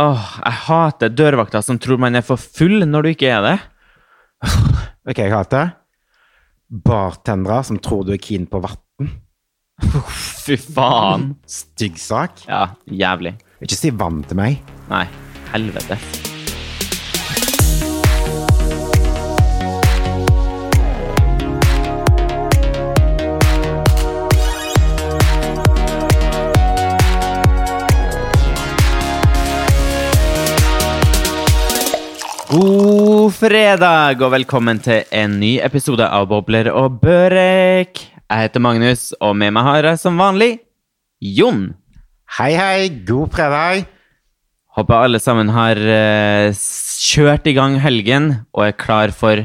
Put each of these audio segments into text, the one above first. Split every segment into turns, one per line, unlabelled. Åh, jeg hater dørvakter som tror man er for full når du ikke er det.
Ok, jeg hater bartendere som tror du er keen på vann.
Fy faen.
Stygg sak.
Ja, jævlig.
Ikke si vann til meg.
Nei, helvete. God fredag, og velkommen til en ny episode av Bobler og Børek. Jeg heter Magnus, og med meg har jeg som vanlig Jon.
Hei, hei, god fredag.
Håper alle sammen har eh, s- kjørt i gang helgen og er klar for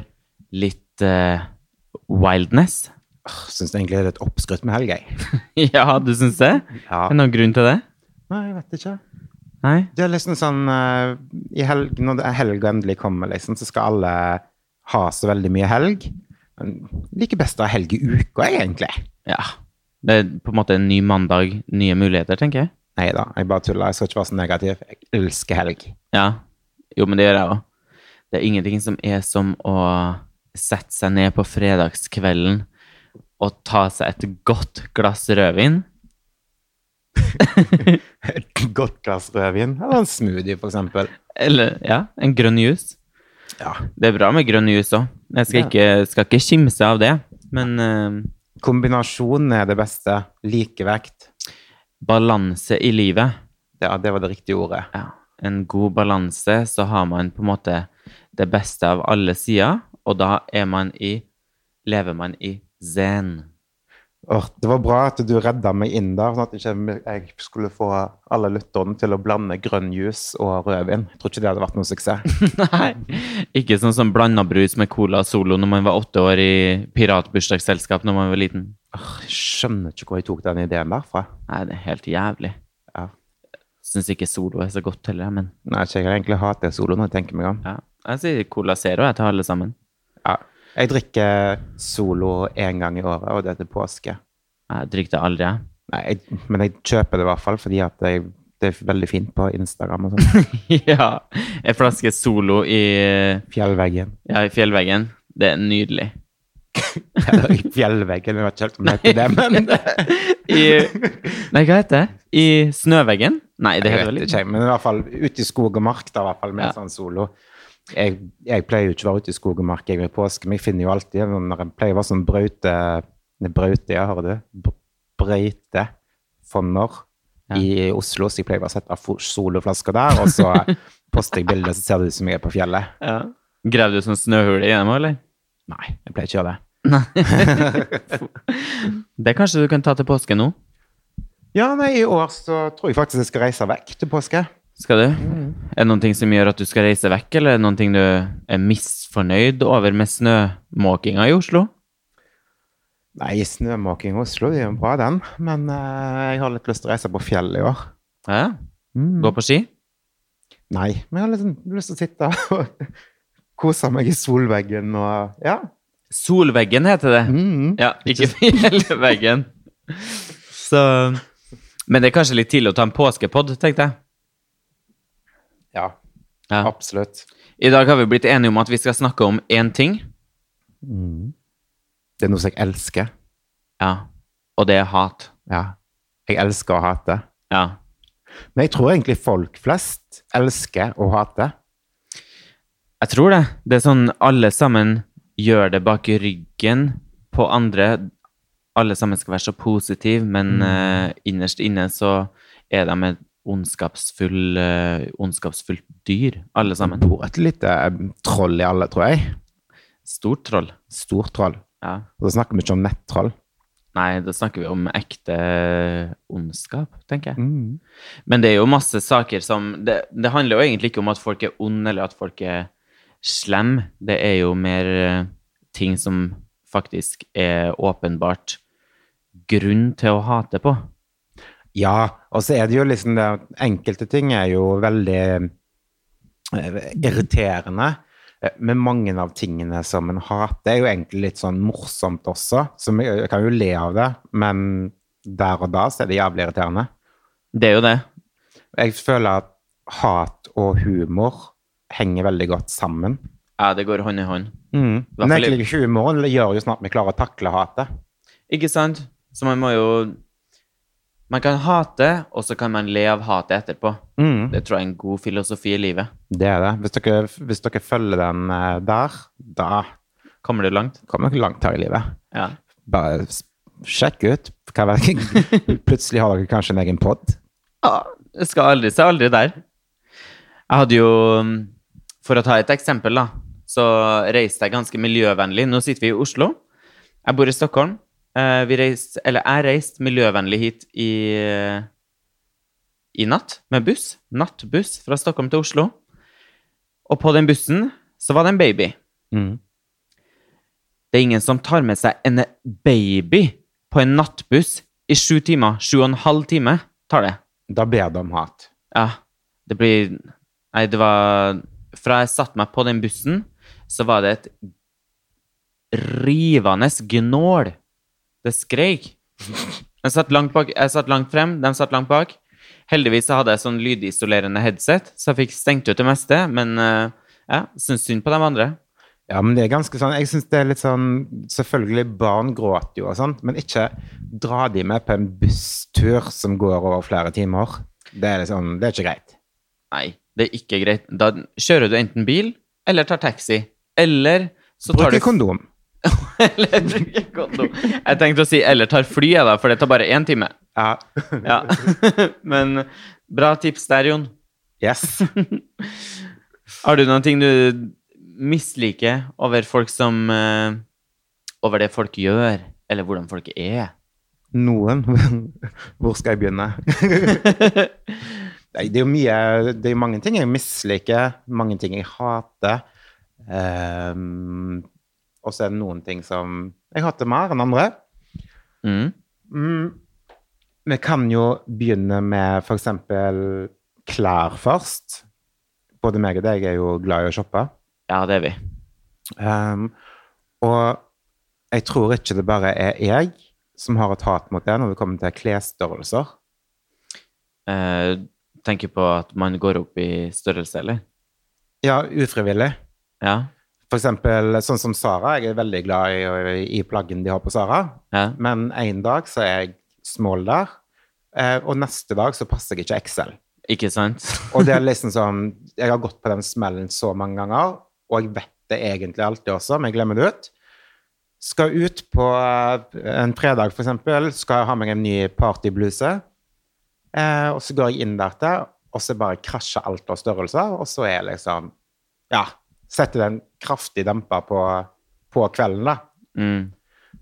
litt eh, wildness.
Åh, Syns egentlig det er litt oppskrytt med helg, jeg.
ja, du syns det?
Ja.
Er det noen grunn til det?
Nei, jeg vet ikke.
Nei?
Det er liksom sånn eh, i helg, Når det- helga endelig kommer, liksom, så skal alle ha så veldig mye helg. Men liker best å ha helg i uka, jeg, egentlig.
Ja. Det er på en måte en ny mandag, nye muligheter, tenker jeg.
Nei da, jeg bare tuller. Jeg skal ikke være så negativ. Jeg elsker helg.
Ja. Jo, men det gjør jeg òg. Det er ingenting som er som å sette seg ned på fredagskvelden og ta seg et godt glass rødvin.
Et godt glass rødvin eller en smoothie, for eksempel.
Eller ja, en grønn juice.
Ja.
Det er bra med grønn juice òg. Jeg skal,
Ja.
ikke, skal ikke kimse av det. Men eh,
Kombinasjonen er det beste. Likevekt.
balanse i livet
Ja, det var det riktige ordet.
ja. En god balanse, så har man på en måte det beste av alle sider. Og da er man i Lever man i zen.
Åh, det var bra at du redda meg inn der, sånn at ikke jeg skulle få alle lytterne til å blande grønn juice og rødvin. Jeg tror ikke det hadde vært noen suksess.
Nei. Ikke sånn som blanda brus med cola solo når man var åtte år i piratbursdagsselskap når man var liten.
Åh, jeg skjønner ikke hvor jeg tok den ideen derfra.
Nei, det er helt jævlig.
Ja.
Syns ikke solo er så godt heller, men
Nei, ikke, jeg egentlig hater solo når jeg tenker meg om.
ja. Jeg sier cola zero jeg til alle sammen.
Ja. Jeg drikker solo én gang i året, og det er til påske.
Jeg drikker det aldri, jeg.
Nei, jeg, men jeg kjøper det i hvert fall, fordi at jeg, det er veldig fint på Instagram og sånn.
Ja. En flaske Solo i,
Fjellveggen.
ja, i fjellveggen. Det er nydelig.
Eller i fjellveggen, jeg vet ikke helt om det heter det, men
I Nei, hva heter det? I snøveggen? Nei, det
Jeg
heter
vet
vel
ikke,
ikke
jeg, men i hvert fall ute i skog og mark, da, i hvert fall med
Ja.
sånn solo. Jeg, jeg pleier jo ikke å være ute i skog og mark jeg ved påske, men jeg finner jo alltid en- når jeg pleier å være sånn braute nei, Braute, ja, hører du? Br- Breite fonner
Ja.
i Oslo, så jeg pleier bare å sette fo- soloflasker der, og så poster jeg bilder, så ser det ut som jeg er på fjellet.
ja. Grav du sånn snøhule i dem òg, eller?
Nei, jeg pleier ikke å gjøre det.
Det kanskje du kan ta til påske nå?
Ja, nei, i år så tror jeg faktisk jeg skal reise vekk til påske.
Skal du? Er det noen ting som gjør at du skal reise vekk, eller er det noen ting du er misfornøyd over med snømåkinga i Oslo?
Nei, snømåking i Oslo, det er jo bra den, men eh, jeg har litt lyst til å reise på fjellet i år.
Ja, Gå på ski?
Nei, men jeg har liksom lyst til å sitte og kose meg i solveggen og ja.
Solveggen heter det.
Mm.
Ja, ikke fjellveggen. Så Men det er kanskje litt tidlig å ta en påskepod, tenkte jeg.
ja,
Ja.
absolutt.
I dag har vi blitt enige om at vi skal snakke om én ting, Mm.
Det er noe som jeg elsker.
ja. og det er hat.
Ja. Jeg elsker å hate.
Ja.
Men jeg tror egentlig folk flest elsker å hate.
Jeg tror det. Det er sånn alle sammen gjør det bak ryggen på andre. Alle sammen skal være så positive, men eh, innerst inne så er de et ondskapsfull, eh, ondskapsfullt dyr, alle sammen.
Det bor et lite eh, troll i alle, tror jeg.
Stort troll.
Stort troll.
Ja.
Og da snakker vi ikke om nettroll.
Nei, da snakker vi om ekte ondskap, tenker jeg.
Mm.
Men det er jo masse saker som det, det handler jo egentlig ikke om at folk er onde, eller at folk er slem. Det er jo mer eh, ting som faktisk er åpenbart grunn til å hate på.
Ja, og så er det jo liksom det at Enkelte ting er jo veldig eh, irriterende. Eh, Men mange av tingene som en hater, er jo egentlig litt sånn morsomt også. Så vi- jeg kan jo le av det, men der og da så er det jævlig irriterende.
Det er jo det.
Jeg føler at hat og humor henger veldig godt sammen.
Ja, det går hånd i hånd.
Mm.
hvert
Men
fall i-
egentlig ikke humoren det gjør jo sånn at vi klarer å takle hatet.
Ikke sant? Så man må jo Man kan hate, og så kan man le av hatet etterpå.
Mm.
Det tror jeg er en god filosofi i livet.
Det er det. Hvis dere, hvis dere følger den eh, der, da
Kommer du langt?
kommer dere langt her i livet.
Ja.
Bare s- sjekk ut. Hva vet- Plutselig har dere kanskje en egen pod.
Ja, jeg skal aldri se aldri der. Jeg hadde jo mm, For å ta et eksempel, da, så reiste jeg ganske miljøvennlig. Nå sitter vi i Oslo. Jeg bor i Stockholm. Eh, Vi reiste, eller jeg reiste miljøvennlig hit i, i natt med buss. Nattbuss fra Stockholm til Oslo. Og på den bussen så var det en baby.
Mm.
Det er ingen som tar med seg en baby på en nattbuss i sju timer. Sju og en halv time tar det.
Da ber de om hat.
Ja, det blir Nei, det var Fra jeg satte meg på den bussen, så var det et rivende gnål. Det skreik. Jeg satt langt, bak, jeg satt langt frem, de satt langt bak. Heldigvis så hadde jeg sånn lydisolerende headset, så jeg fikk stengt ut det meste. Men eh, ja, syns synd på de andre.
Ja, men det er ganske sånn Jeg syns det er litt sånn Selvfølgelig, barn gråter jo og sånt, men ikke dra de med på en busstur som går over flere timer. Det er liksom Det er ikke greit.
Nei, det er ikke greit. Da kjører du enten bil, eller tar taxi. Eller så tar
Bruk
du
kondom.
Eller bruker kondom. Jeg tenkte å si 'eller tar fly', jeg, da, for det tar bare én time.
Ja.
Ja. Men bra tips der, Jon.
Yes.
Har du noen ting du misliker over folk som eh, Over det folk gjør, eller hvordan folk er?
Noen. Hvor skal jeg begynne? Nei, det er jo mye Det er jo mange ting jeg misliker, mange ting jeg hater. Ehm, og så er det noen ting som jeg hater mer enn andre.
Mm.
Mm. Vi kan jo begynne med f.eks. klær først. Både meg og deg er jo glad i å shoppe.
Ja, det er vi.
Um, og jeg tror ikke det bare er jeg som har et hat mot det når det kommer til klesstørrelser.
Eh, tenker på at man går opp i størrelse, eller?
Ja, ufrivillig.
Ja.
For eksempel sånn som Sara. Jeg er veldig glad i, i plaggen de har på Sara.
ja.
Men en dag så er jeg smål der, eh, og neste dag så passer jeg ikke XL.
Ikke sant?
Og det er liksom sånn Jeg har gått på den smellen så mange ganger, og jeg vet det egentlig alltid også, men jeg glemmer det ut. Skal ut på eh, en fredag, for eksempel, skal jeg ha meg en ny partybluse. Eh, og så går jeg inn der til, og så bare krasjer alt av størrelser, og så er jeg liksom Ja. Setter den kraftig demper på, på kvelden, da.
Mm.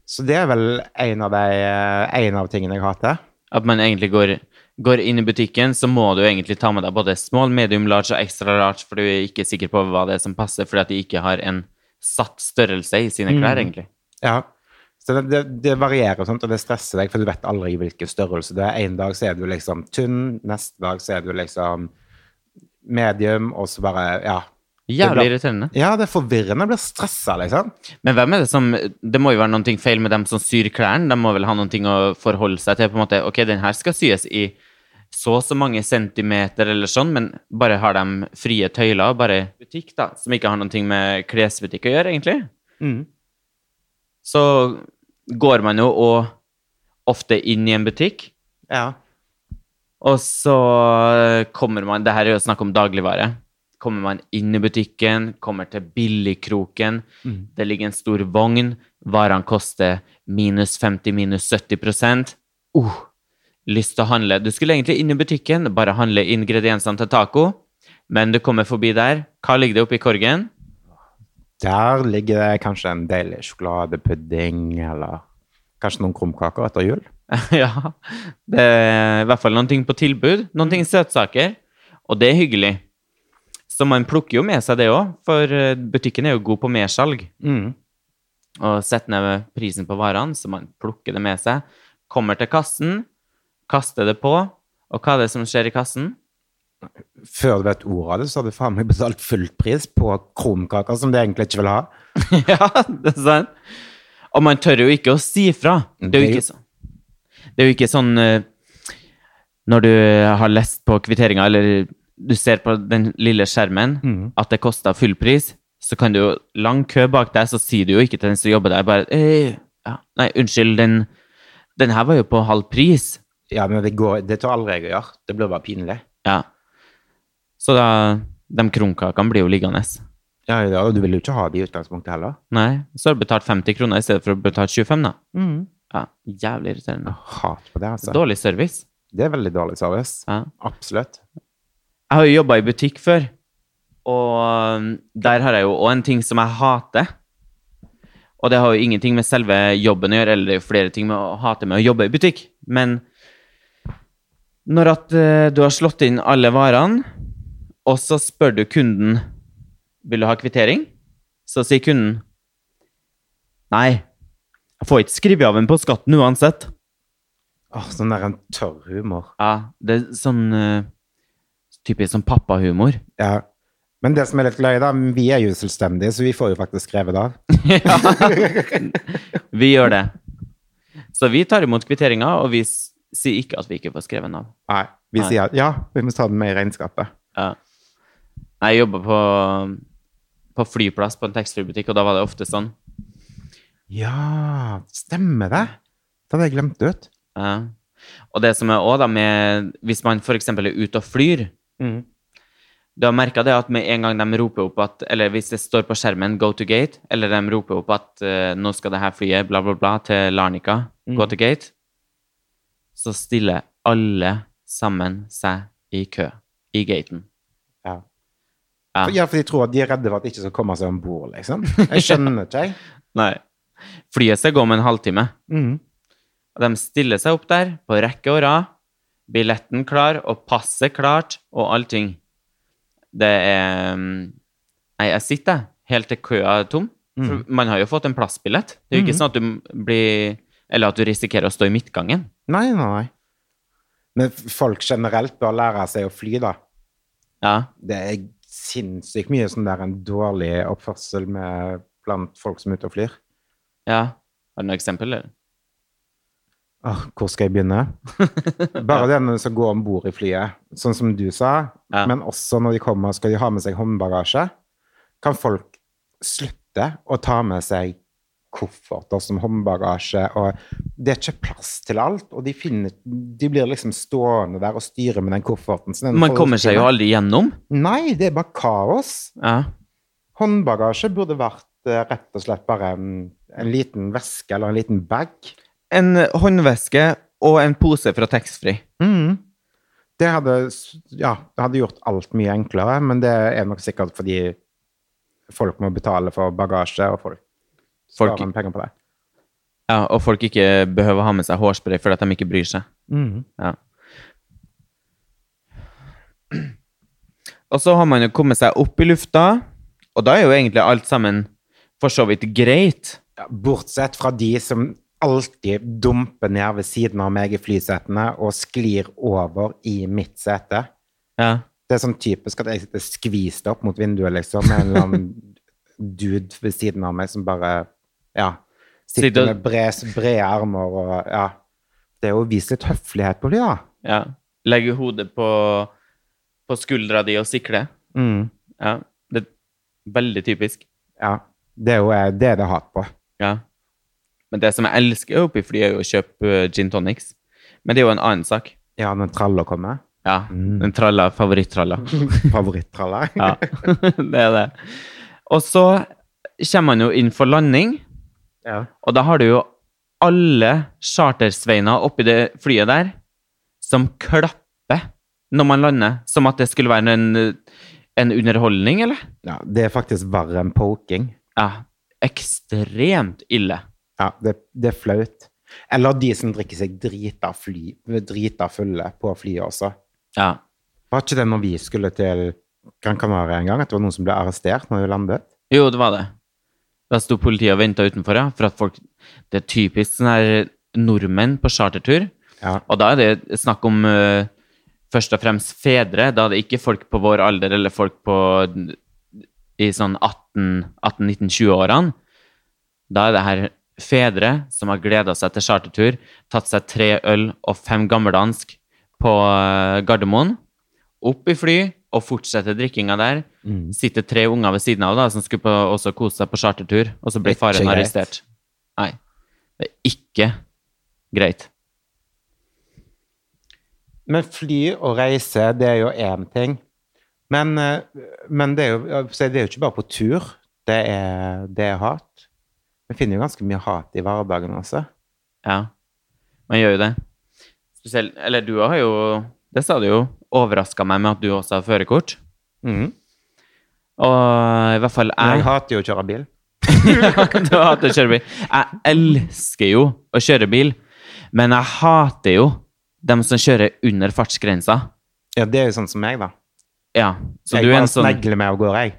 Så det er vel en av, de, eh, en av tingene jeg hater.
At man egentlig går, går inn i butikken, så må du egentlig ta med deg både small, medium, large og extra large, for du er ikke sikker på hva det er som passer, fordi at de ikke har en satt størrelse i sine klær, egentlig.
Ja. Så det, det, det varierer og sånt, og det stresser deg, for du vet aldri hvilken størrelse det er. En dag så er du liksom tynn, neste dag så er du liksom medium, og så bare Ja.
Jævlig
blir-
irriterende.
Ja, det er forvirrende. Jeg blir stressa, liksom.
Men hvem er det som Det må jo være noen ting feil med dem som syr klærne. De må vel ha noen ting å forholde seg til. på en måte, Ok, den her skal syes i så og så mange centimeter eller sånn, men bare har de frie tøyler, bare butikk, da, som ikke har noen ting med klesbutikk å gjøre, egentlig. Så går man jo og ofte inn i en butikk,
Ja.
og så eh, kommer man Det her er jo snakk om dagligvare. Kommer man inn i butikken, kommer til billigkroken, det ligger en stor vogn, varene koster minus 50, minus 70 uh, Lyst til å handle. Du skulle egentlig inn i butikken, bare handle ingrediensene til taco, men du kommer forbi der. Hva ligger det oppi korgen?
Der ligger det kanskje en deilig sjokoladepudding, eller kanskje noen krumkaker etter jul.
ja. Det er i hvert fall noen ting på tilbud. Noen ting søtsaker. Og det er hyggelig. Så man plukker jo med seg det òg, for eh, butikken er jo god på mersalg. Og setter ned prisen på varene, så man plukker det med seg. Kommer til kassen, kaster det på. Og hva er det som skjer i kassen?
Før du vet ordet av det, så har du faen meg betalt full pris på krumkaker som du egentlig ikke vil ha.
ja, det er sant. Og man tør jo ikke å si fra. Det er jo ikke sånn. Det er jo ikke sånn eh, når du har lest på kvitteringa eller du ser på den lille skjermen
Mm.
at det koster full pris, så kan du jo lang kø bak deg, så sier du jo ikke til den som jobber der, bare «Øy, ja, Nei, unnskyld, den, den her var jo på halv pris.
Ja, men det, går, det tar aldri jeg å gjøre. Det blir bare pinlig.
Ja. Så da De kronkakene blir jo liggende.
Ja, ja, og du vil jo ikke ha det i utgangspunktet heller.
Nei. Så har du betalt 50 kroner i stedet for å betale 25, da.
Mm.
Ja, Jævlig irriterende.
Hat på det, altså.
Dårlig service.
Det er veldig dårlig service.
Ja.
Absolutt.
Jeg har jo jobba i butikk før, og um, der har jeg jo òg en ting som jeg hater. Og det har jo ingenting med selve jobben å gjøre, eller det er jo flere ting med å hate med å jobbe i butikk, men når at eh, du har slått inn alle varene, og så spør du kunden vil du ha kvittering, så sier kunden nei, jeg får ikke skrive av den på skatten uansett.
Åh, sånn der en tørr humor.
Ja, det er sånn eh, typisk sånn pappahumor.
Ja. Men det som er litt løye, da, vi er jo selvstendige, så vi får jo faktisk skrevet av.
Ja. Vi gjør det. Så vi tar imot kvitteringa, og vi s- sier ikke at vi ikke får skrevet navn.
Nei, vi
Nei.
sier at ja, vi må ta den med i regnskapet.
Ja. Jeg jobber på, på flyplass på en taxfree-butikk, og da var det ofte sånn.
Ja, stemmer det? Det hadde jeg glemt ut.
Ja. Og det som er òg, da, med Hvis man f.eks. er ute og flyr, du har merka det at med en gang de roper opp at Eller hvis det står på skjermen 'go to gate', eller de roper opp at eh, 'nå skal det her flyet bla, bla, bla' til Larnica,
Mm.
go to gate, så stiller alle sammen seg i kø i gaten.
Ja.
Ja.
For- Ja, for de tror at de er redde for at de ikke skal komme seg om bord, liksom. Jeg skjønner ikke, jeg.
Nei. Flyet skal gå om en halvtime. Mm.
Mhm.
Og de stiller seg opp der på rekke og rad. Billetten klar, og passet klart, og allting. Det er mm, Nei, jeg sitter jeg, helt til køa er tom. For man har jo fått en plassbillett. Det er jo ikke sånn at du m- blir Eller at du risikerer å stå i midtgangen.
Nei, nei, nei. Men f- folk generelt bør lære seg å fly, da.
Ja.
Det er sinnssykt mye sånn der en dårlig oppførsel med blant folk som er ute og flyr.
ja. Har du noe eksempel, eller?
Åh, hvor skal jeg begynne? Bare det når de skal gå om bord i flyet, sånn som du sa.
Ja.
Men også når de kommer og skal de ha med seg håndbagasje, kan folk slutte å ta med seg kofferter som håndbagasje. Og det er ikke plass til alt, og de, finner, de blir liksom stående der og styre med den kofferten. Så den
Man
får-
kommer seg jo aldri gjennom.
Nei, det er bare kaos.
Ja.
Håndbagasje burde vært eh, rett og slett bare en, en liten veske eller en liten bag.
En håndveske og en pose fra taxfree.
Mm. Det hadde, s- ja, det hadde gjort alt mye enklere, men det er nok sikkert fordi folk må betale for bagasje, og folk
Folk-
sparer penger på det.
Ja, og folk ikke behøver å ha med seg hårspray fordi at de ikke bryr seg. Ja. Og så har man jo kommet seg opp i lufta, og da er jo egentlig alt sammen for så vidt greit.
Ja, bortsett fra de som alltid dumper ned ved siden av meg i flysetene og sklir over i mitt sete.
Ja.
Det er sånn typisk at jeg sitter skvist opp mot vinduet, liksom, med en eller annen dude ved siden av meg som bare ja,
Sitter-
sitter med brede brede armer og ja. Det er jo å vise litt høflighet på fly, da.
ja. Legge hodet på, på skuldra di og sikle.
Mm.
Ja. Det er veldig typisk.
Ja. Det er jo eh, det er det hat på.
Ja. Men det som jeg elsker oppi fly, er jo å kjøpe eh, gin tonics. Men det er jo en annen sak.
Ja, når traller kommer.
Ja.
Mm.
Den tralla, favoritttralla.
Favoritttraller.
Ja, det er det. Og så kommer man jo inn for landing,
Ja.
og da har du jo alle chartersveina oppi det flyet der som klapper når man lander, som at det skulle være en, en underholdning, eller?
ja. Det er faktisk verre enn poking.
Ja. Ekstremt ille.
Ja, det, det er flaut. Eller de som drikker seg drita, fly, drita fulle på flyet også.
Ja.
Var ikke det når vi skulle til Gran Canaria en gang, at det var noen som ble arrestert når vi landet?
Jo, det var det. Da sto politiet og venta utenfor, ja. For at folk Det er typisk sånn her nordmenn på chartertur.
Ja.
Og da er det snakk om eh, først og fremst fedre. Da er det ikke folk på vår alder eller folk på i sånn 18-19-20-årene. Da er det her fedre som har gleda seg til chartertur, tatt seg tre øl og fem gammeldansk på eh, Gardermoen, opp i fly og fortsette drikkinga der.
Mm.
Sitter tre unger ved siden av da, som skulle på, også kose seg på chartertur, og så blir
Ikke
faren
greit.
arrestert. Nei, det er ikke greit.
Men fly og reise, det er jo én ting. Men, eh, men det, er jo, jeg vil si, det er jo ikke bare på tur det er, det er hat. Vi finner jo ganske mye hat i hverdagen også.
Ja, man gjør jo det. Spesielt, eller du har jo, det sa du jo, overraska meg med at du også har førerkort.
Mhm.
Og i hvert fall
Men jeg
jeg
hater jo å kjøre bil.
du hater å kjøre bil. Jeg elsker jo å kjøre bil, men jeg hater jo dem som kjører under fartsgrensa.
Ja, Det er jo sånn som meg, da.
Ja, så
jeg
du er,
bare
en sånn,
snegler meg av gårde, jeg.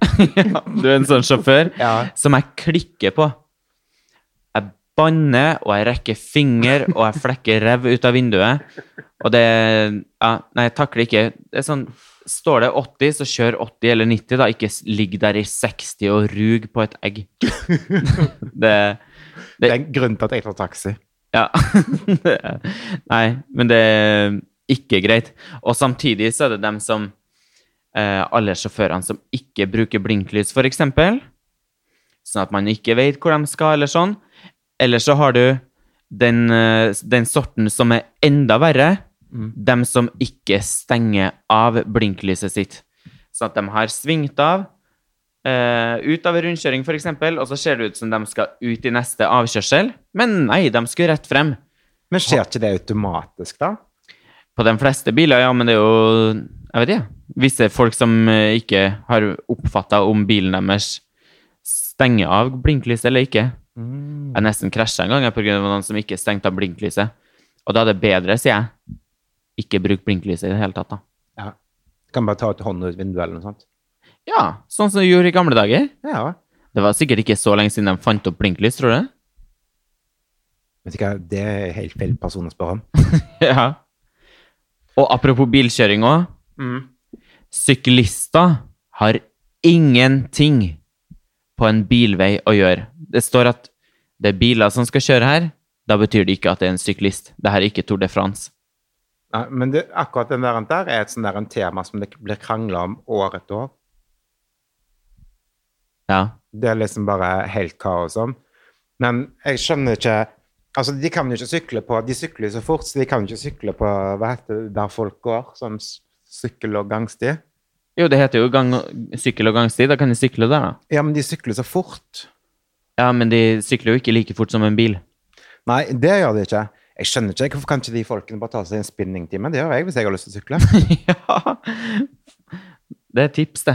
du er en sånn sjåfør
Ja.
som jeg klikker på. Jeg banner, og jeg rekker finger, og jeg flekker rev ut av vinduet. Og det ja, Nei, jeg takler ikke. Det er sånn Står det 80, så kjør 80 eller 90, da. Ikke s- ligg der i 60 og rug på et egg. det
Det er en grunn til at jeg tar taxi.
Ja. Nei, men det er ikke greit. Og samtidig så er det dem som eh, Alle sjåførene som ikke bruker blinklys, for eksempel. Sånn at man ikke vet hvor de skal, eller sånn. Eller så har du den, eh, den sorten som er enda verre. Dem som ikke stenger av blinklyset sitt. Sånn at de har svingt av. eh, ut av en rundkjøring, f.eks., og så ser det ut som de skal ut i neste avkjørsel. Men nei, de skulle rett frem.
Men skjer ikke det automatisk, da?
På de fleste biler, ja, men det er jo Jeg vet ikke. Visse folk som eh, ikke har oppfatta om bilen deres stenger av blinklyset eller ikke.
Mm.
Jeg nesten krasja en gang jeg, på grunn av noen som ikke stengte av blinklyset. Og da er det bedre, sier jeg, ikke bruk blinklyset i det hele tatt, da.
Ja. Kan bare ta ut hånda ut vinduet eller noe sånt.
Ja, sånn som du gjorde i gamle dager.
Ja.
Det var sikkert ikke så lenge siden de fant opp blinklys, tror du?
Vet du hva, det er helt feil person å spørre om.
Ja. Og apropos bilkjøring òg.
Mm.
Syklister har ingenting på en bilvei å gjøre. Det står at det er biler som skal kjøre her. Da betyr det ikke at det er en syklist. Det her er ikke Tour de France.
Nei, men det, akkurat den der, der er et sånn der en tema som det blir krangla om år etter år.
Ja.
Det er liksom bare helt kaos om. Men jeg skjønner ikke Altså, de kan jo ikke sykle på De sykler jo så fort, så de kan jo ikke sykle på hva heter det, der folk går, som s- sykkel- og gangsti.
Jo, det heter jo gang, sykkel- og gangsti. Da kan de sykle der, da.
Ja, men de sykler så fort.
Ja, men de sykler jo ikke like fort som en bil.
Nei, det gjør de ikke. Jeg skjønner ikke, Hvorfor kan ikke de folkene bare ta seg en spinningtime? Det gjør jeg hvis jeg har lyst til å sykle.
ja. Det er tips, det.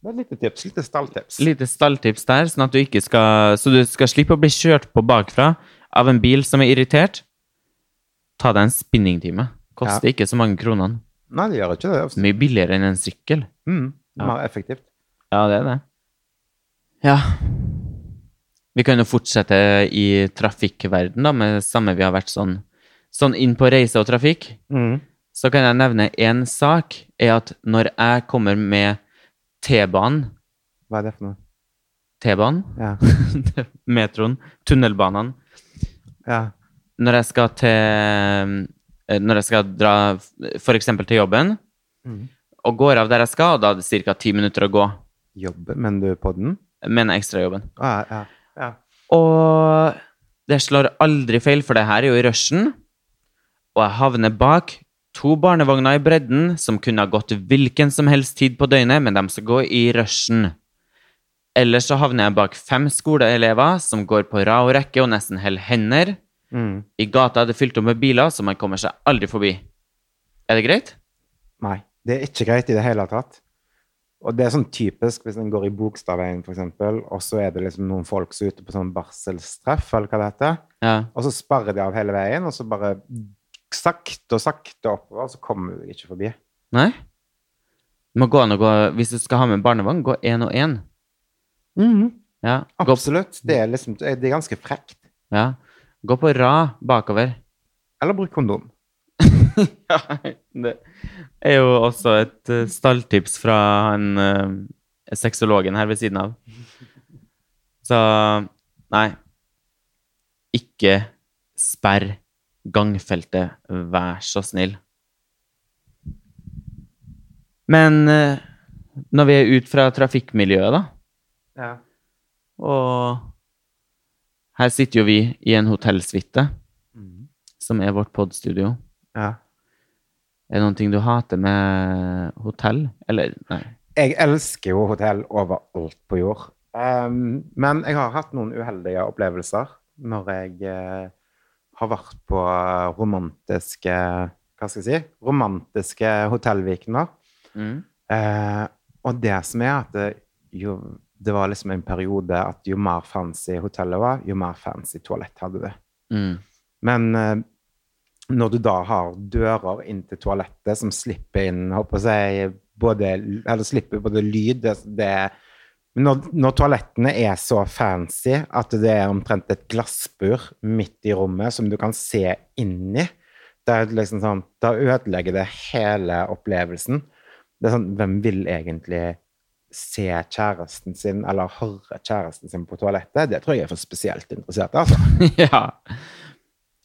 Det er et lite tips. Lite stalltips.
lite stalltips der, sånn at du ikke skal Så du skal slippe å bli kjørt på bakfra av en bil som er irritert. Ta deg en spinningtime. Koster ikke så mange kronene.
Nei, de gjør ikke det. altså.
Mye billigere enn en sykkel.
Mm, Mer effektivt.
Ja, det er det. Ja. Vi kan jo fortsette i trafikkverden da, med det samme vi har vært sånn, sånn inn på reise og trafikk.
Mm.
Så kan jeg nevne én sak, er at når jeg kommer med T-banen
Hva er det for noe?
T-banen,
Ja.
metroen, tunnelbanene
ja.
når jeg skal til eh, Når jeg skal dra f.eks. til jobben,
Mhm.
og går av der jeg skal, og da er det ca. ti minutter å gå
Jobbe, men du er på den?
med den ekstrajobben.
Ah, ja, ja.
Og det slår aldri feil, for det her er jo i rushen. Og jeg havner bak to barnevogner i bredden som kunne ha gått hvilken som helst tid på døgnet, men de skal gå i rushen. Ellers så havner jeg bak fem skoleelever som går på rad og rekke og nesten holder hender.
Mm.
I gata er det fylt opp med biler, så man kommer seg aldri forbi. Er det greit?
Nei, det er ikke greit i det hele tatt. Og det er sånn typisk hvis en går i Bogstadveien, for eksempel, og så er det liksom noen folk som er ute på sånn barselstreff, eller hva det heter,
Ja.
og så sperrer de av hele veien, og så bare sakte og sakte oppover, og så kommer du ikke forbi.
Nei? Du må gå an å gå, hvis du skal ha med barnevogn, gå én og én.
Mm.
Ja. Gå,
Absolutt. Det er liksom det er ganske frekt.
ja. gå på rad bakover.
Eller bruk kondom.
Ja, det er jo også et eh, stalltips fra han eh, sexologen her ved siden av. Så nei. Ikke sperr gangfeltet, vær så snill. Men eh, når vi er ut fra trafikkmiljøet, da,
Ja.
og her sitter jo vi i en hotellsuite,
Mm.
som er vårt podstudio.
ja.
Er det noen ting du hater med hotell? Eller nei.
Jeg elsker jo hotell overalt på jord. Ehm, men jeg har hatt noen uheldige opplevelser når jeg eh, har vært på romantiske Hva skal jeg si? Romantiske hotellvikener.
Mm.
Eh, og det som er at det, jo, det var liksom en periode at jo mer fancy hotellet var, jo mer fancy toalett hadde det.
Mm.
Men eh, når du da har dører inn til toalettet som slipper inn håper jeg, både, eller slipper både lyd det, det, når, når toalettene er så fancy at det er omtrent et glassbur midt i rommet som du kan se inn i, det er liksom sånn, da ødelegger det hele opplevelsen. Det er sånn, Hvem vil egentlig se kjæresten sin eller høre kjæresten sin på toalettet? Det tror jeg er for spesielt interessert. altså.
ja.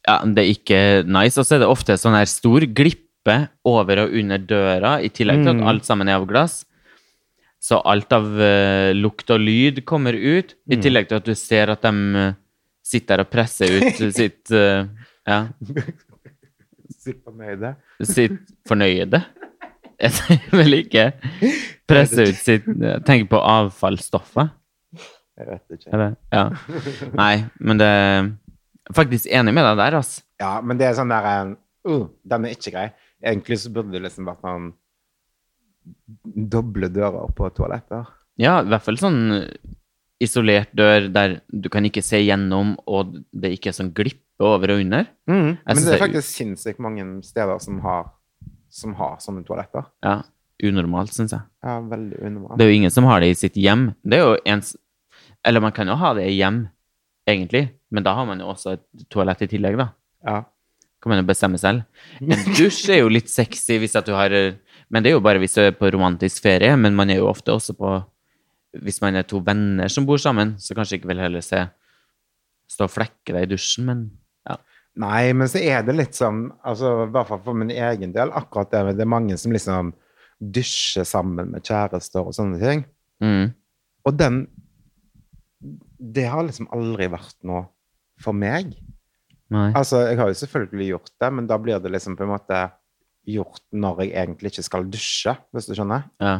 ja. men Det er ikke nice. Og så er det ofte sånn her stor glippe over og under døra, i tillegg til
Mm.
at alt sammen er av glass. Så alt av eh, lukt og lyd kommer ut, i
Mm.
tillegg til at du ser at de eh, sitter der og presser ut sitt eh, ja,
Superfornøyde.
sitt fornøyde. Jeg vil ikke presse ut sitt Tenk på avfallsstoffet.
Jeg vet ikke.
Eller? Ja. Nei, men det jeg er Faktisk enig med deg der, ass.
Ja, men det er sånn der eh, uh, Den er ikke grei. Egentlig så burde det liksom vært sånn doble dører på toaletter.
Ja, i hvert fall sånn isolert dør der du kan ikke se gjennom, og det ikke er sånn glippe over og under.
Mm. Men
synes
det er
det er u-
faktisk sinnssykt mange steder som har, som har sånne toaletter.
Ja, unormalt, syns jeg.
Ja, veldig unormalt.
Det er jo ingen som har det i sitt hjem. Det er jo ens Eller man kan jo ha det i hjem, egentlig, men da har man jo også et toalett i tillegg, da.
Ja.
Kan man jo bestemme selv. En dusj er jo litt sexy hvis at du har Men det er jo bare hvis du er på romantisk ferie, men man er jo ofte også på Hvis man er to venner som bor sammen, så kanskje ikke vil heller se stå og flekke deg i dusjen, men ja.
Nei, men så er det litt sånn altså, I hvert fall for min egen del. Akkurat det, med- det er mange som liksom dusjer sammen med kjærester og sånne ting.
Mm.
Og den Det har liksom aldri vært noe for meg.
Nei.
Altså, jeg har jo selvfølgelig gjort det, men da blir det liksom på en måte gjort når jeg egentlig ikke skal dusje, hvis du skjønner.
Ja.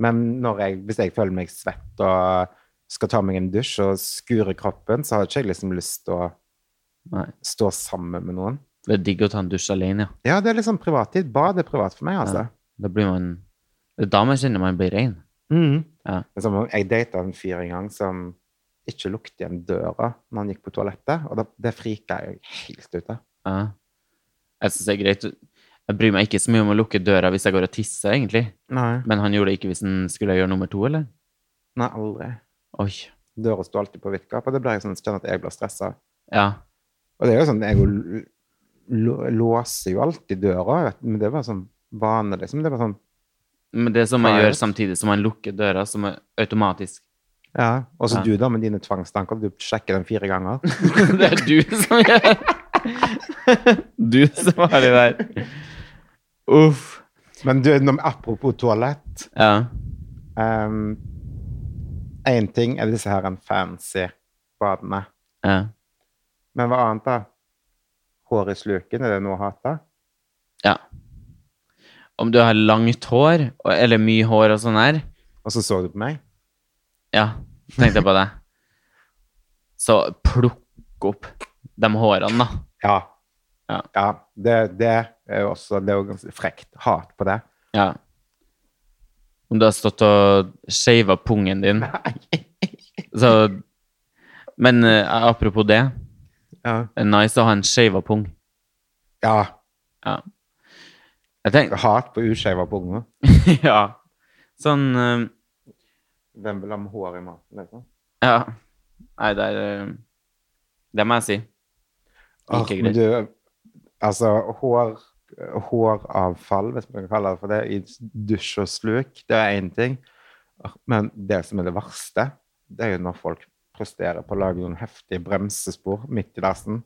Men når jeg, hvis jeg føler meg svett og skal ta meg en dusj og skure kroppen, så har ikke jeg liksom lyst til å
Nei.
stå sammen med noen.
Det er digg å ta en dusj alene, ja.
Ja, det er liksom privattid. Bad er privat for meg, altså.
Da blir man Det er da man kjenner man blir rein.
Mhm.
Ja.
Det er som om Jeg data en fyr en gang som ikke lukket igjen døra når han gikk på toalettet, og da, det frika jeg helt ut av.
Ja. Jeg syns det er greit. Jeg bryr meg ikke så mye om å lukke døra hvis jeg går og tisser, egentlig.
Nei.
Men han gjorde det ikke hvis han skulle gjøre nummer to, eller?
Nei, aldri.
Oi.
Døra sto alltid på vidt gap, og det ble jeg sånn, kjenner at jeg blir stressa.
Ja.
Og det er jo sånn, jeg jo l- lå- låser jo alltid døra, vet du, men det var sånn vane, liksom. Det var sånn,
Men det som man
Nei.
gjør samtidig som man lukker døra, som er automatisk
ja. Og så
Ja.
du da, med dine tvangstanker, du sjekker den fire ganger.
Det er du som gjør Du som har det der. Uff.
Men du, nå- apropos toalett,
Ja.
um, en ting er disse her en fancy badene,
ja.
men hva annet da? Hår i sluken, er det noe å hate?
ja. Om du har langt hår, og- eller mye hår og sånn her,
Og så så du på meg.
ja, tenkte jeg på det. Så plukk opp de hårene, da.
Ja.
Ja.
det, det er jo også, det er jo ganske frekt hat på det.
Ja. Om du har stått og shava pungen din, så Men eh, apropos det,
Ja.
det er nice å ha en shava pung.
Ja,
Ja. Jeg tenker
hat på uskjeva på unge.
Ja. Sånn eh,
Hvem vil ha med hår i maten, liksom?
Ja. Nei, det er eh, Det må jeg si.
Åh,
Ikke
men
greit.
du, altså, hår, håravfall, hvis man kan kalle det for det, i dusj og sluk, det er én ting. Åh, Men det som er det verste, det er jo når folk presterer på å lage noen heftige bremsespor midt i dassen.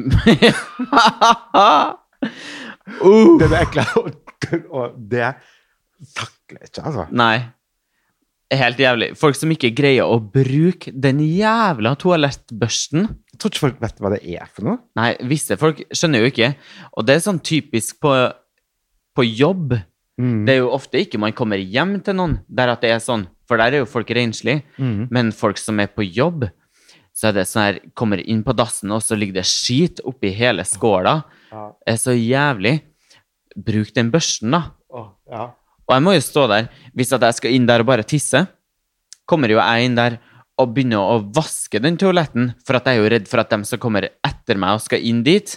uh,
Det er det ekle, og, og det takler ikke, altså.
Nei. Helt jævlig. Folk som ikke greier å bruke den jævla toalettbørsten.
Jeg tror ikke folk vet hva det er for noe.
Nei, visse folk skjønner jo ikke. Og det er sånn typisk på, på jobb.
Mm.
Det er jo ofte ikke man kommer hjem til noen der at det er sånn, for der er jo folk renslige.
Mm.
Men folk som er på jobb, så er det sånn her, kommer inn på dassen, og så ligger det skit oppi hele skåla.
Ja.
Det er så jævlig. Bruk den børsten, da.
Åh, ja.
Og jeg må jo stå der hvis at jeg skal inn der og bare tisse. Kommer jo jeg inn der og begynner å vaske den toaletten, for at jeg er jo redd for at dem som kommer etter meg og skal inn dit,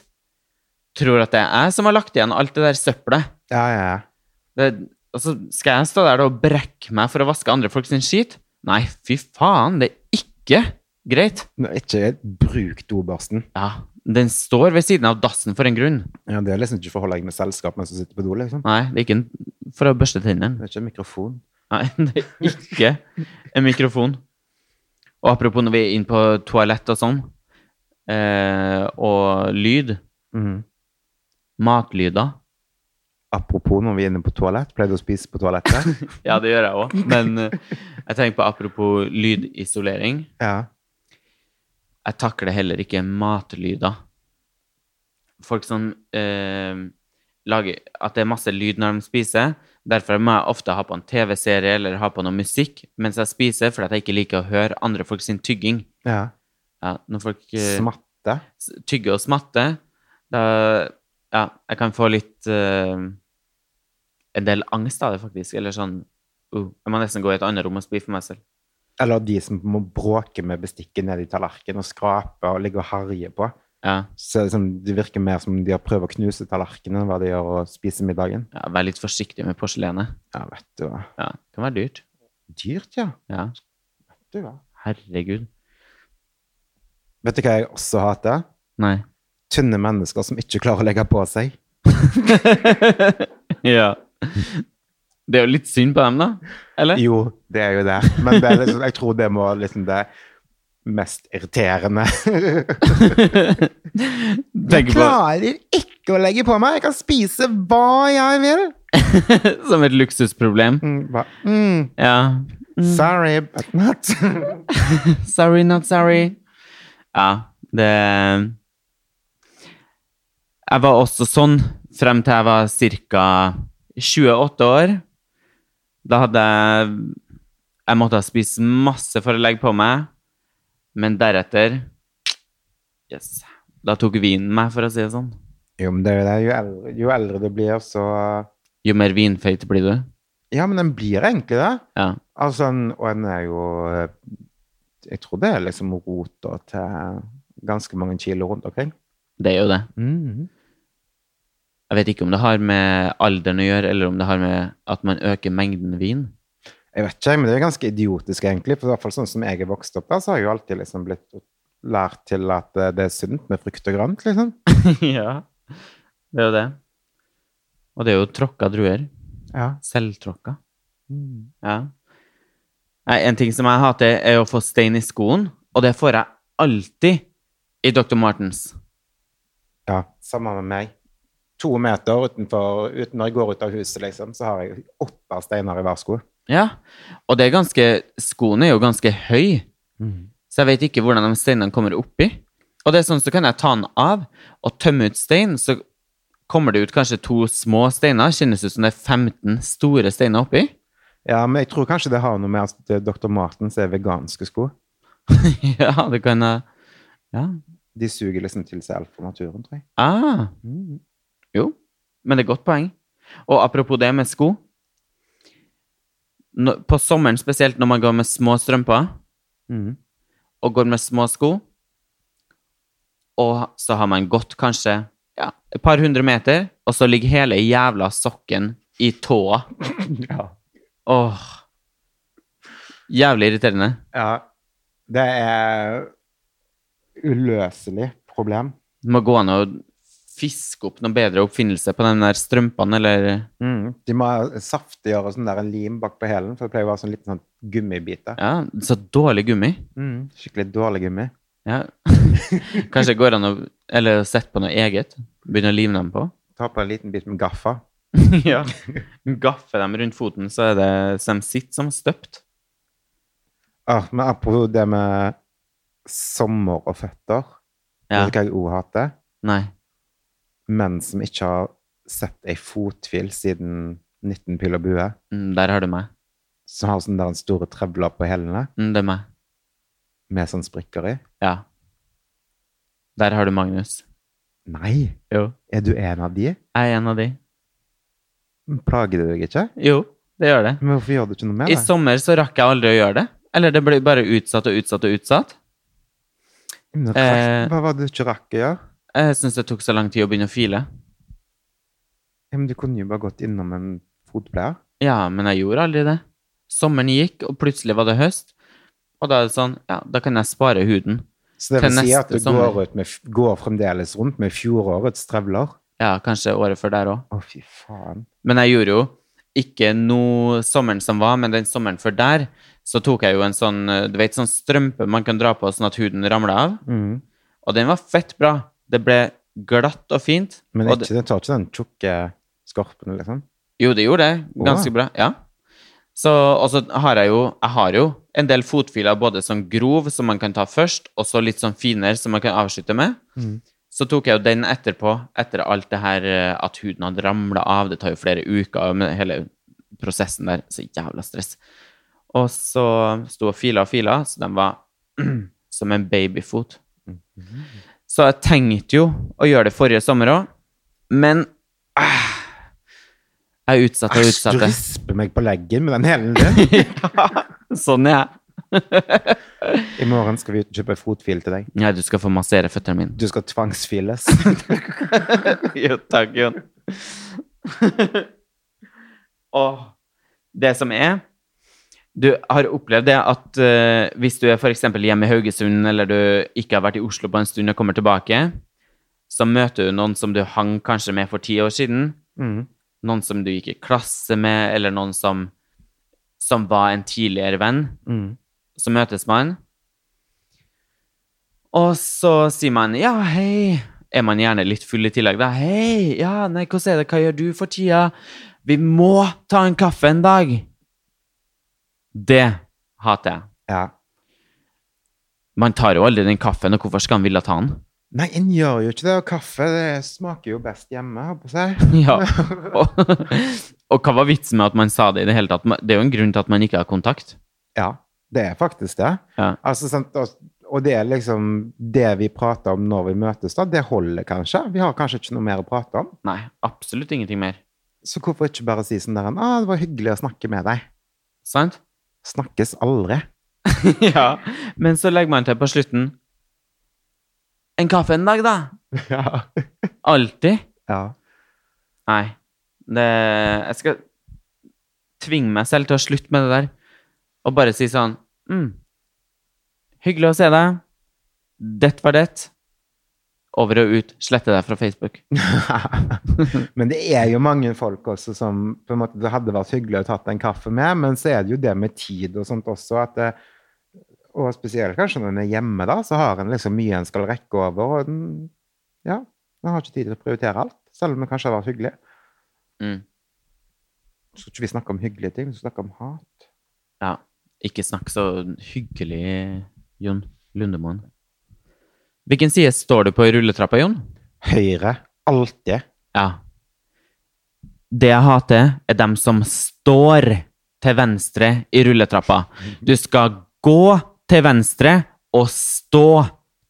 tror at det er jeg som har lagt igjen alt det der søppelet.
Ja, ja, ja.
Det, og så skal jeg stå der da og brekke meg for å vaske andre folk sin skit? Nei, fy faen, det er ikke greit.
Nå, Ikke bruk dobørsten.
Ja, den står ved siden av dassen for en grunn.
Ja, det er liksom ikke for å holde deg med selskap mens du sitter på do, liksom.
Nei, det er ikke en, for å børste tennene.
Det er ikke en mikrofon.
Nei, det er ikke en mikrofon. Og apropos når vi er inne på toalett og sånn, eh, og lyd, matlyder.
Apropos når vi er inne på toalett, pleier du å spise på toalettet?
Ja, det gjør jeg òg, men eh, jeg tenker på apropos lydisolering.
ja.
Jeg takler heller ikke matlyder. Folk som eh, lager At det er masse lyd når de spiser. Derfor må jeg ofte ha på en TV-serie eller ha på noe musikk mens jeg spiser, fordi at jeg ikke liker å høre andre folk sin tygging.
ja.
Ja, når folk eh,
Smatte.
s- tygge og smatte. Da Ja, jeg kan få litt eh, En del angst av det, faktisk. Eller sånn uh, Jeg må nesten gå i et annet rom og spy for meg selv.
Eller de som må bråke med bestikket ned i tallerkenen og skrape og ligge og harje på.
Ja,
Så det er liksom, det virker mer som de har prøvd å knuse tallerkenen enn hva de gjør å spise middagen.
ja Vær litt forsiktig med porselenet.
Ja, vet du hva.
Ja, det kan være dyrt.
Dyrt, ja.
Ja,
Vet du hva.
herregud.
Vet du hva jeg også hater?
Nei.
Tynne mennesker som ikke klarer å legge på seg.
ja. Det er jo litt synd på dem, da. Eller?
Jo, det er jo det. Men det er liksom, jeg tror det må liksom det mest irriterende.
Tenk på
klarer ikke å legge på meg! Jeg kan spise hva jeg vil!
Som et luksusproblem.
Mm, hva? Mm,
Ja.
sorry, but not.
Sorry, not sorry. Ja, det Jeg var også sånn frem til jeg var ca. 28 år. Da hadde jeg Jeg måtte ha spist masse for å legge på meg, men deretter Yes. Da tok vinen meg, for å si det sånn.
jo, men det er jo det. Jo eldre, jo eldre du blir, så
Jo mer vinfeit blir du.
Ja, men den blir egentlig det.
Ja.
Altså, en- og en er jo eh, Jeg tror det er liksom rota til ganske mange kilo rundt omkring.
Det er jo det.
Mm.
Jeg vet ikke om det har med alderen å gjøre, eller om det har med at man øker mengden vin.
Jeg vet ikke, men det er ganske idiotisk egentlig. For i hvert fall sånn som jeg er vokst opp der, så har jeg jo alltid liksom blitt lært til at eh, det er sunt med frukt og grønt, liksom.
ja, det er jo det. Og det er jo tråkka druer.
Ja.
Selvtråkka.
Mm.
Ja. Nei, en ting som jeg hater, er å få stein i skoen, og det får jeg alltid i Dr. Martens.
ja. Samme med meg. To meter utenfor, uten når jeg går ut av huset, liksom, så har jeg åtte steiner i hver sko.
Ja, og det er ganske Skoen er jo ganske høy,
Mm.
så jeg vet ikke hvordan de steinene kommer oppi. Og det er sånn, så kan jeg ta den av og tømme ut stein, så kommer det ut kanskje to små steiner. Kjennes ut som det er 15 store steiner oppi.
Ja, men jeg tror kanskje det har noe med at Dr. Martens er veganske sko.
ja, det kan jeg Ja.
De suger liksom til seg alt fra naturen, tror jeg.
Ah,
Mm.
jo, men det er et godt poeng. Og apropos det med sko. Nå- På sommeren spesielt når man går med små strømper,
Mm.
og går med små sko, og så har man gått kanskje ja, et par hundre meter, og så ligger hele jævla sokken i tåa.
Ja.
Åh. Jævlig irriterende.
ja. Det er uløselig problem.
Det må gå an å fiske opp noen bedre oppfinnelse på den der strømpene, eller
Mm. De må ha saftiggjøre sånn der en lim bak på hælen, for det pleier å være sånn liten sånn gummibite.
Ja, så dårlig gummi.
Mm. Skikkelig dårlig gummi.
Ja. Kanskje det går an å Eller å sette på noe eget. Begynne å lime dem på.
Ta på en liten bit med gaffa.
ja. Gaffer dem rundt foten, så er det så de sitter som støpt.
Ah, men apropos det med sommer og føtter
Ja.
Vet du hva jeg òg hater?
Nei.
Menn som ikke har sett ei fotfil siden 19 pil og bue.
Mm, Der har du meg.
Som har sånne der store trevler på hælene
Mm, Det er meg.
med sånn sprikker i.
Ja. Der har du Magnus.
Nei!
Jo.
Er du en av de?
Jeg er en av de.
Plager det deg ikke?
Jo, det gjør det.
Men hvorfor gjør du ikke noe med
I
det?
sommer så rakk jeg aldri å gjøre det. Eller det ble bare utsatt og utsatt og utsatt.
Men rakk-
eh,
Hva var det du ikke rakk å gjøre?
Jeg syns det tok så lang tid å begynne å file.
Ja, men du kunne jo bare gått innom en fotpleier.
Ja, men jeg gjorde aldri det. Sommeren gikk, og plutselig var det høst. Og da er det sånn, ja, da kan jeg spare huden.
Så det
Til
vil si at
neste
du
sommer.
går, ut med, f- går fremdeles rundt med fjorårets trevler?
Ja, kanskje året før der òg.
Å, fy faen.
Men jeg gjorde jo ikke noe sommeren som var, men den sommeren før der, så tok jeg jo en sånn, eh, du vet, sånn strømpe man kan dra på sånn at huden ramler av.
Mm.
Og den var fett bra. Det ble glatt og fint.
Men
og
ikke, den tar ikke den tjukke skorpen, liksom?
Jo, det gjorde det. Ganske
Åh.
bra. Ja. Så, og så har jeg jo, jeg har jo en del fotfiler både sånn grov, som man kan ta først, og så litt sånn finere, som man kan avslutte med.
Mhm.
Så tok jeg jo den etterpå, etter alt det her eh, at huden hadde ramla av. Det tar jo flere uker med hele prosessen der. Så jævla stress. Og så sto og fila og fila, så den var som en babyfot. Så jeg tenkte jo å gjøre det forrige sommer òg, men ah, jeg utsatte og
Æsj, du
utsatte.
risper meg på leggen med den hælen din!
Sånn er jeg.
I morgen skal vi ut og kjøpe fotfil til deg.
Ja, du skal få massere føttene mine.
Du skal tvangsfiles.
jo, takk, Jon. Og det som er Du har opplevd det at eh, hvis du er f.eks. hjemme i Haugesund, eller du ikke har vært i Oslo på en stund og kommer tilbake, så møter du noen som du hang kanskje med for ti år siden.
Mm.
Noen som du gikk i klasse med, eller noen som, som var en tidligere venn.
Mm.
Så møtes man. Og så sier man ja, hei. Er man gjerne litt full i tillegg, da? Hei, ja, nei, hvordan er det, hva gjør du for tida? Vi må ta en kaffe en dag. Det hater jeg.
Ja.
Man tar jo aldri den kaffen, og hvorfor skal han ville ta den?
Nei, en gjør jo ikke det. Og kaffe det smaker jo best hjemme, håper jeg.
Ja. Og, og hva var vitsen med at man sa det i det hele tatt? Det er jo en grunn til at man ikke har kontakt.
Ja, det er faktisk det.
Ja.
Altså, sant? og- Og det er liksom det vi prater om når vi møtes, da. Det holder kanskje. Vi har kanskje ikke noe mer å prate om.
Nei, absolutt ingenting mer.
Så hvorfor ikke bare si sånn der ah, 'Det var hyggelig å snakke med deg'.
Sant?
Snakkes aldri.
ja. Men så legger man til på slutten En kaffe en dag, da?
Ja.
Alltid?
ja.
Nei. Det, jeg skal tvinge meg selv til å slutte med det der. Og bare si sånn mm, Hyggelig å se deg. Det var det. Over og ut. Slette deg fra Facebook.
men det er jo mange folk også som på en måte, det hadde vært hyggelig å tatt en kaffe med, men så er det jo det med tid og sånt også at det, Og spesielt kanskje når en er hjemme, da, så har en liksom mye en skal rekke over, og den, ja, en har ikke tid til å prioritere alt, selv om det kanskje har vært hyggelig.
Mm.
Så skal ikke vi snakke om hyggelige ting, vi skal snakke om hat.
Ja. Ikke snakk så hyggelig, Jon Lundemoen. Hvilken side står du på i rulletrappa, Jon?
Høyre. Alltid.
Ja. Det jeg hater, er dem som står til venstre i rulletrappa. Du skal gå til venstre og stå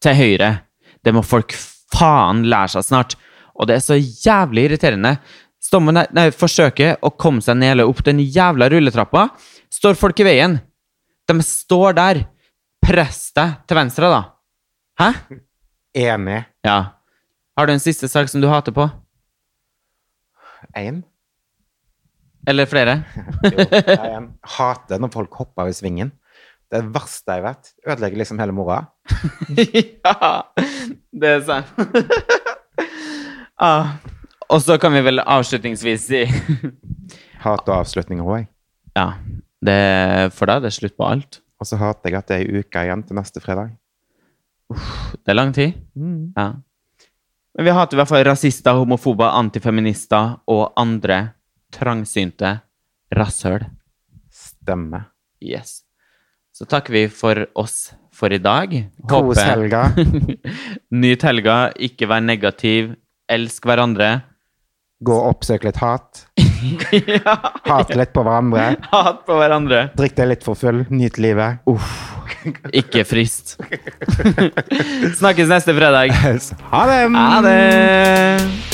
til høyre. Det må folk faen lære seg snart. Og det er så jævlig irriterende. Står man der, nei, forsøker å komme seg ned eller opp den jævla rulletrappa, står folk i veien. De står der. Press deg til venstre, da. Hæ?
Enig.
Ja. Har du en siste sak som du hater på?
Én.
Eller flere?
Jo, jeg hater når folk hopper i svingen. Det er det verste jeg vet. Ødelegger liksom hele moroa.
ja, det er sant. ah. Og så kan vi vel avslutningsvis si
Hater avslutninger òg, jeg.
Ja, det, for da er det slutt på alt.
Og så hater jeg at det er ei uke igjen til neste fredag.
Det er lang tid.
Mm.
Ja. Men vi hater i hvert fall rasister, homofober, antifeminister og andre trangsynte rasshøl.
Stemmer.
Yes. Så takker vi for oss for i dag.
Kos helga.
Nyt helga. Ikke vær negativ. Elsk hverandre.
Gå og oppsøk litt hat.
ja.
Hate litt på hverandre.
Hat på hverandre.
Drikk deg litt for full. Nyt livet.
Ikke frist. Snakkes neste fredag.
Ha det!
Ha det!